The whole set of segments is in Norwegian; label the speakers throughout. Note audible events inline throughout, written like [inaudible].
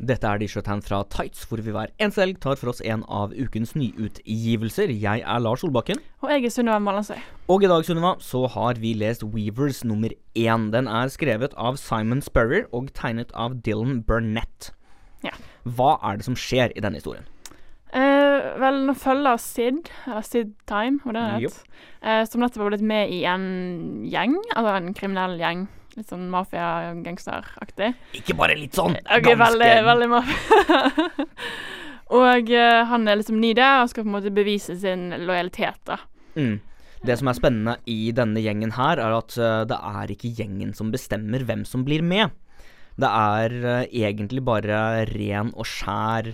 Speaker 1: Dette er Dishotan fra Tights, hvor vi hver eneste helg tar for oss en av ukens nyutgivelser. Jeg er Lars Solbakken.
Speaker 2: Og jeg er Sunniva Malandsøy.
Speaker 1: Og i dag, Sunniva, så har vi lest Weavers nummer én. Den er skrevet av Simon Spurrier og tegnet av Dylan Burnett.
Speaker 2: Ja.
Speaker 1: Hva er det som skjer i denne historien?
Speaker 2: Eh, vel, nå følger Sid, eller Sid Time, var det det het, eh, som nettopp har blitt med i en gjeng, altså en kriminell gjeng. Litt sånn mafia-gangsteraktig.
Speaker 1: Ikke bare litt sånn!
Speaker 2: Ok, veldig, veldig mafia. [laughs] og eh, han er liksom ny der og skal på en måte bevise sin lojalitet, da.
Speaker 1: Mm. Det som er spennende i denne gjengen her, er at eh, det er ikke gjengen som bestemmer hvem som blir med. Det er eh, egentlig bare ren og skjær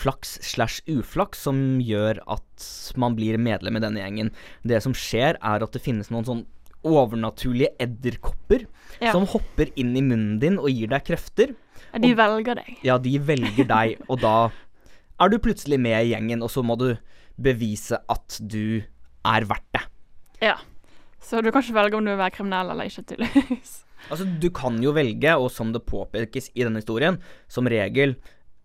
Speaker 1: flaks slash uflaks som gjør at man blir medlem i denne gjengen. Det som skjer, er at det finnes noen sånn overnaturlige edderkopper
Speaker 2: Ja.
Speaker 1: som hopper inn i munnen din og gir deg krefter.
Speaker 2: De velger deg.
Speaker 1: Ja, de velger deg, og da er du plutselig med i gjengen, og så må du bevise at du er verdt det.
Speaker 2: Ja. Så du kan ikke velge om du vil være kriminell eller ikke, tydeligvis. [laughs]
Speaker 1: Altså, du kan jo velge, og som det påpekes i denne historien, som regel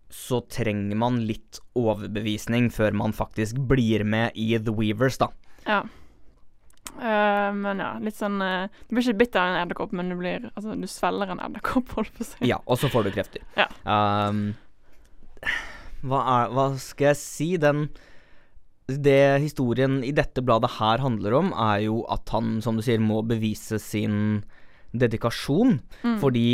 Speaker 1: så trenger man litt overbevisning før man faktisk blir med i The Weavers, da.
Speaker 2: Ja. Eh, men ja, litt sånn eh, Du blir ikke bitt av en edderkopp, men du blir Altså, du svelger en edderkopp, [laughs] holdt på å si.
Speaker 1: Ja, og så får du krefter.
Speaker 2: Ja.
Speaker 1: Ehm, hva, er, hva skal jeg si? Den Det historien i dette bladet her handler om, er jo at han, som du sier, må bevise sin dedikasjon.
Speaker 2: Mm.
Speaker 1: Fordi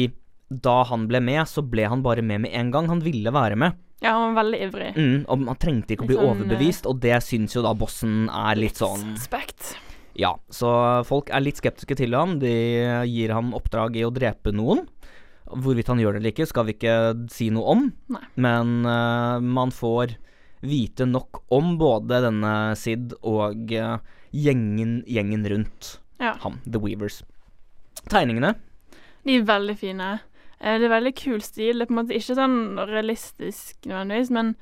Speaker 1: da han ble med, så ble han bare med med en gang. Han ville være med.
Speaker 2: Ja, han var veldig ivrig.
Speaker 1: Mm, og man trengte ikke å
Speaker 2: Litt
Speaker 1: bli
Speaker 2: sånn,
Speaker 1: overbevist, og det syns jo da bossen er litt sånn
Speaker 2: Suspekt.
Speaker 1: Ja, så folk er litt skeptiske til ham. De gir ham oppdrag i å drepe noen. Hvorvidt han gjør det eller ikke, skal vi ikke si noe om.
Speaker 2: Nei.
Speaker 1: Men eh, man får vite nok om både denne Sid og eh, gjengen, gjengen rundt
Speaker 2: Ja.
Speaker 1: ham, The Weavers. Tegningene
Speaker 2: De er veldig fine. Eh, det er veldig kul stil. Det er på en måte ikke sånn realistisk nødvendigvis, men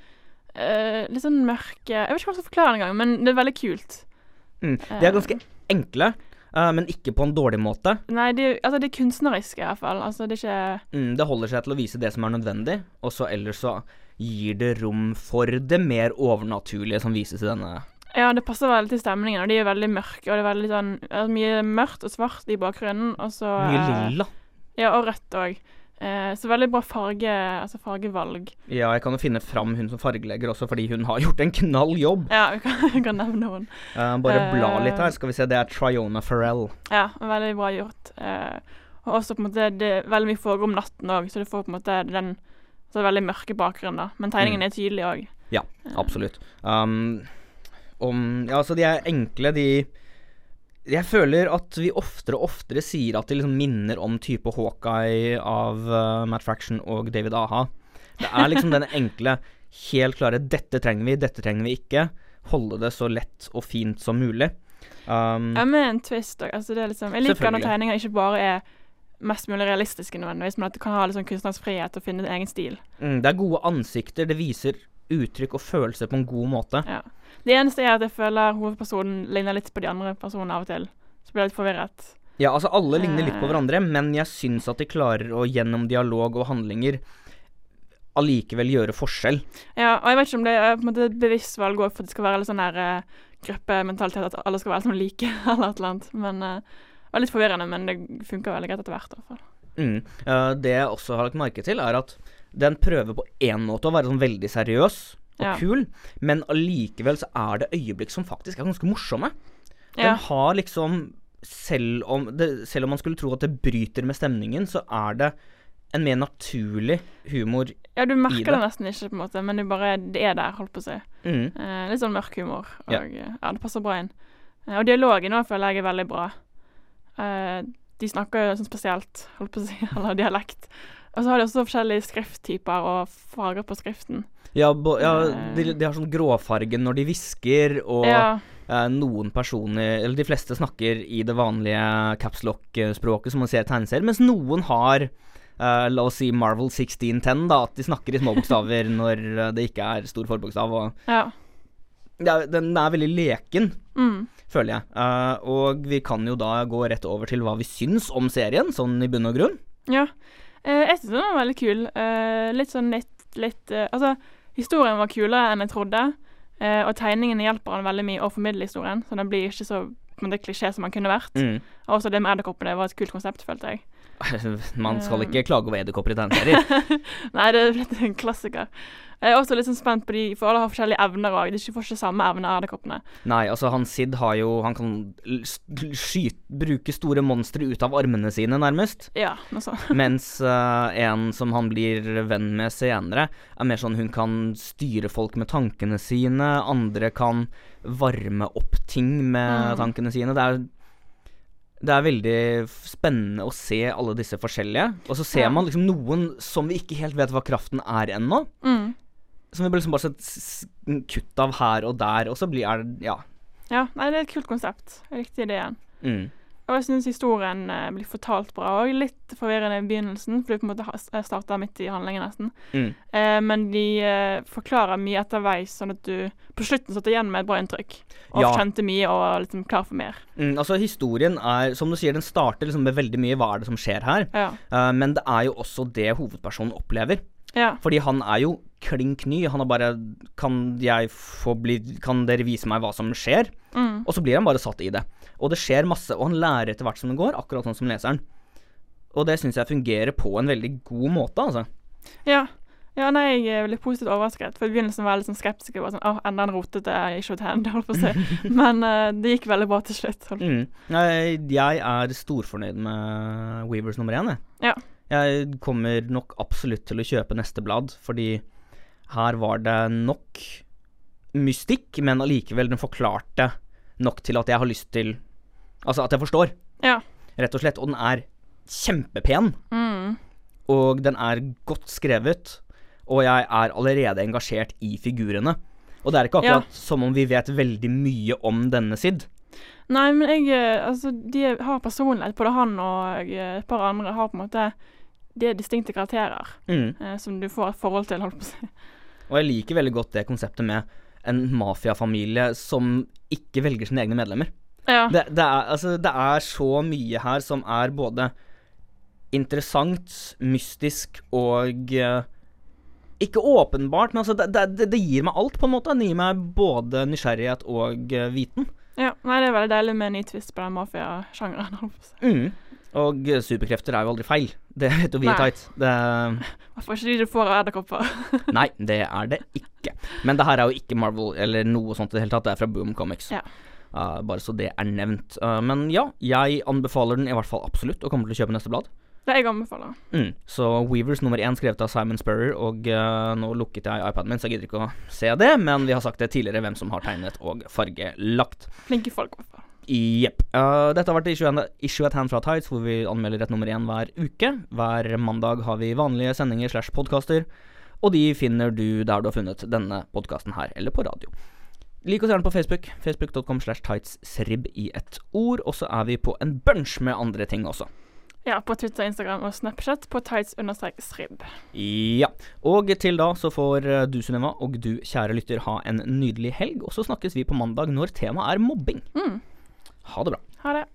Speaker 2: eh, litt sånn mørke Jeg vet ikke hva jeg skal forklare det engang, men det er veldig kult.
Speaker 1: mm, De
Speaker 2: Eh.
Speaker 1: er ganske enkle, eh, men ikke på en dårlig måte.
Speaker 2: Nei, de, altså, de er kunstneriske i hvert fall. Altså, det er ikke
Speaker 1: Mm, det holder seg til å vise det som er nødvendig, og så ellers så gir det rom for det mer overnaturlige som vises i denne.
Speaker 2: Ja, det passer veldig til stemningen, og de er veldig mørke, og det er veldig sånn eh, Mye mørkt og svart i bakgrunnen, og så
Speaker 1: Mye
Speaker 2: eh,
Speaker 1: lilla.
Speaker 2: Ja, og rødt òg. Eh, så veldig bra farge, altså fargevalg.
Speaker 1: Ja, jeg kan jo finne fram hun som fargelegger også, fordi hun har gjort en knall jobb.
Speaker 2: Ja, vi kan, [laughs] vi kan nevne noen.
Speaker 1: Eh, bare bla
Speaker 2: Eh.
Speaker 1: litt her, skal vi se. Det er Triona Farrell.
Speaker 2: Ja, veldig bra gjort. Eh, og også på en måte, det er veldig mye foregår om natten òg, så du får på en måte den så veldig mørke bakgrunnen. da. Men tegningen er tydelig òg.
Speaker 1: Ja, absolutt. Um, om Ja, altså, de er enkle, de Jeg føler at vi oftere og oftere sier at de liksom minner om type Hawkeye av eh, Matt Fraction og David Aha. Det er liksom den enkle, helt klare 'dette trenger vi, dette trenger vi ikke'. Holde det så lett og fint som mulig. Um,
Speaker 2: Ja, med en twist òg. Altså, det er liksom, jeg liker når
Speaker 1: Selvfølgelig.
Speaker 2: tegninger ikke bare er mest mulig realistiske nødvendigvis, men at du kan ha litt sånn kunstnerisk frihet og finne din egen stil.
Speaker 1: mm, det er gode ansikter, det viser uttrykk og følelser på en god måte.
Speaker 2: Ja. Det eneste er at jeg føler hovedpersonen ligner litt på de andre personene av og til. Så blir jeg litt forvirret.
Speaker 1: Ja, altså alle ligner litt på
Speaker 2: Eh.
Speaker 1: hverandre, men jeg syns at de klarer å gjennom dialog og handlinger allikevel gjøre forskjell.
Speaker 2: Ja, og jeg vet ikke om det er på en måte et bevisst valg også, for det skal være litt sånn her eh, gruppementalitet, at alle skal være sånn like, [laughs] eller et eller annet. Men eh, det var litt forvirrende, men det funker veldig greit etter hvert, i hvert fall.
Speaker 1: Mm. Eh, det jeg også har lagt merke til, er at den prøver på én måte å være sånn veldig seriøs og
Speaker 2: Ja.
Speaker 1: kul, men allikevel så er det øyeblikk som faktisk er ganske morsomme. Den
Speaker 2: Ja,
Speaker 1: har liksom selv om, det, selv om man skulle tro at det bryter med stemningen, så er det en mer naturlig humor.
Speaker 2: ja du
Speaker 1: i det.
Speaker 2: merker det nesten ikke, på en måte, men det, bare, det er der, holdt på å si.
Speaker 1: Mm.
Speaker 2: Eh, litt sånn mørk humor, og
Speaker 1: Ja.
Speaker 2: ja. ja, det passer bra inn. Eh, og dialogen òg føler jeg er veldig bra. Eh, de snakker jo sånn spesielt, holdt på å si, [laughs] eller dialekt. Og så har de også forskjellige skrifttyper og farger på skriften.
Speaker 1: Ja, bo, ja de,
Speaker 2: Eh.
Speaker 1: de har sånn gråfargen når de hvisker, og
Speaker 2: ja.
Speaker 1: Eh, noen personer, eller de fleste snakker i det vanlige capslock-språket som man ser i tegneserier, mens noen har eh, la oss si Marvel 1610, da, at de snakker i små bokstaver [laughs] når eh, det ikke er stor forbokstav. Og
Speaker 2: ja.
Speaker 1: det er, den er veldig leken,
Speaker 2: Mm.
Speaker 1: føler jeg. Eh, og vi kan jo da gå rett over til hva vi syns om serien, sånn i bunn og grunn.
Speaker 2: Ja. Eh, jeg syns den var veldig kul. Eh, litt sånn nytt litt eh, Altså, historien var kulere enn jeg trodde, eh, og tegningene hjelper han veldig mye å formidle historien, så den blir ikke så på en måte, klisjé som den kunne vært.
Speaker 1: Mm.
Speaker 2: Og også det med edderkoppene var et kult konsept, følte jeg.
Speaker 1: [laughs] Man skal
Speaker 2: Um.
Speaker 1: ikke klage over edderkopper i tegneserier.
Speaker 2: Nei, det er blitt en klassiker. Jeg er også litt sånn spent på de, for alle har forskjellige evner òg. De ikke- får ikke samme evne, edderkoppene.
Speaker 1: Nei, altså, han Sid har jo Han kan l- s- l- skyte Bruke store monstre ut av armene sine, nærmest.
Speaker 2: Ja, noe sånt.
Speaker 1: Mens eh, en som han blir venn med senere, er mer sånn hun kan styre folk med tankene sine. Andre kan varme opp ting med
Speaker 2: Mm.
Speaker 1: tankene sine. Det er, det er veldig f- spennende å se alle disse forskjellige. Og så ser
Speaker 2: Ja.
Speaker 1: man liksom noen som vi ikke helt vet hva kraften er ennå.
Speaker 2: Mm.
Speaker 1: Som vi blir liksom bare sett s- s- kutt av her og der, og så blir er det Ja.
Speaker 2: Ja, nei, det er et kult konsept. Jeg likte ideen.
Speaker 1: Mm.
Speaker 2: Og jeg syns historien eh, blir fortalt bra òg. Litt forvirrende i begynnelsen, for du på en måte har- starter midt i handlingen nesten.
Speaker 1: Mm.
Speaker 2: Eh, men de eh, forklarer mye etterveis, sånn at du på slutten satt igjen med et bra inntrykk. Og
Speaker 1: Ja.
Speaker 2: skjønte mye og var liksom klar for mer.
Speaker 1: Mm, altså, historien er Som du sier, den starter liksom med veldig mye 'hva er det som skjer her'?
Speaker 2: Ja.
Speaker 1: Eh, men det er jo også det hovedpersonen opplever.
Speaker 2: ja.
Speaker 1: Fordi han er jo klink ny. Han er bare Kan jeg få bli Kan dere vise meg hva som skjer?
Speaker 2: Mm.
Speaker 1: Og så blir han bare satt i det. Og det skjer masse, og han lærer etter hvert som det går, akkurat sånn som leseren. Og det syns jeg fungerer på en veldig god måte, altså.
Speaker 2: ja. Ja, nei, jeg eh, ble positivt overrasket. For i begynnelsen var jeg litt sånn skeptisk. Jeg var sånn, åh, enda en rotete issued hand, [laughs] holdt på å si. Men eh, det gikk veldig bra til slutt. holdt-
Speaker 1: Mm. Nei, Jeg er storfornøyd med Weavers nummer én, jeg.
Speaker 2: Ja.
Speaker 1: Jeg kommer nok absolutt til å kjøpe neste blad, fordi her var det nok mystikk, men allikevel den forklarte nok til at jeg har lyst til Altså at jeg forstår,
Speaker 2: Ja.
Speaker 1: rett og slett. Og den er kjempepen,
Speaker 2: Mm.
Speaker 1: og den er godt skrevet, og jeg er allerede engasjert i figurene. Og det er ikke
Speaker 2: Ja.
Speaker 1: akkurat som om vi vet veldig mye om denne Sid.
Speaker 2: Nei, men jeg eh, Altså, de har personlighet. Både han og eh, et par andre har på en måte De er distinkte karakterer
Speaker 1: Mm.
Speaker 2: eh, som du får et forhold til, holdt på å si.
Speaker 1: Og jeg liker veldig godt det konseptet med en mafiafamilie som ikke velger sine egne medlemmer.
Speaker 2: Ja.
Speaker 1: Det, det, er, altså, det er så mye her som er både interessant, mystisk og eh, ikke åpenbart, men altså, det, det- det, det gir meg alt, på en måte. Det gir meg både nysgjerrighet og eh, viten.
Speaker 2: ja. Nei, det er veldig deilig med en ny twist på den mafiasjangeren, holdt på å si.
Speaker 1: Mm. Og eh, superkrefter er jo aldri feil. Det vet jo vi
Speaker 2: Nei.
Speaker 1: i Tight. Det,
Speaker 2: Hvorfor ikke de du får av edderkopper?
Speaker 1: nei, det er det ikke. Men det her er jo ikke Marvel eller noe sånt i det hele tatt. Det er fra Boom Comics.
Speaker 2: Ja.
Speaker 1: Eh, bare så det er nevnt. Eh, men ja, jeg anbefaler den i hvert fall absolutt, og kommer til å kjøpe neste blad.
Speaker 2: Det jeg anbefaler.
Speaker 1: Mm. Så Weavers nummer én skrevet av Simon Spurrier, og eh, nå lukket jeg iPaden min, så jeg gidder ikke å se det, men vi har sagt det tidligere hvem som har tegnet og fargelagt.
Speaker 2: Flinke folk, i hvert fall.
Speaker 1: Jepp. Eh, dette har vært Issue and- Issue at Hand fra Tides, hvor vi anmelder et nummer én hver uke. Hver mandag har vi vanlige sendinger slash podkaster, og de finner du der du har funnet denne podkasten her, eller på radio. Lik oss gjerne på Facebook. Facebook.com slash tightsrib i ett ord. Og så er vi på en bunch med andre ting også.
Speaker 2: Ja, på Twitter, Instagram og Snapchat på tights-strib.
Speaker 1: Ja. Og til da så får eh, du, Sunniva, og du, kjære lytter, ha en nydelig helg. Og så snakkes vi på mandag når temaet er mobbing.
Speaker 2: Mm.
Speaker 1: Ha det bra.
Speaker 2: Ha det.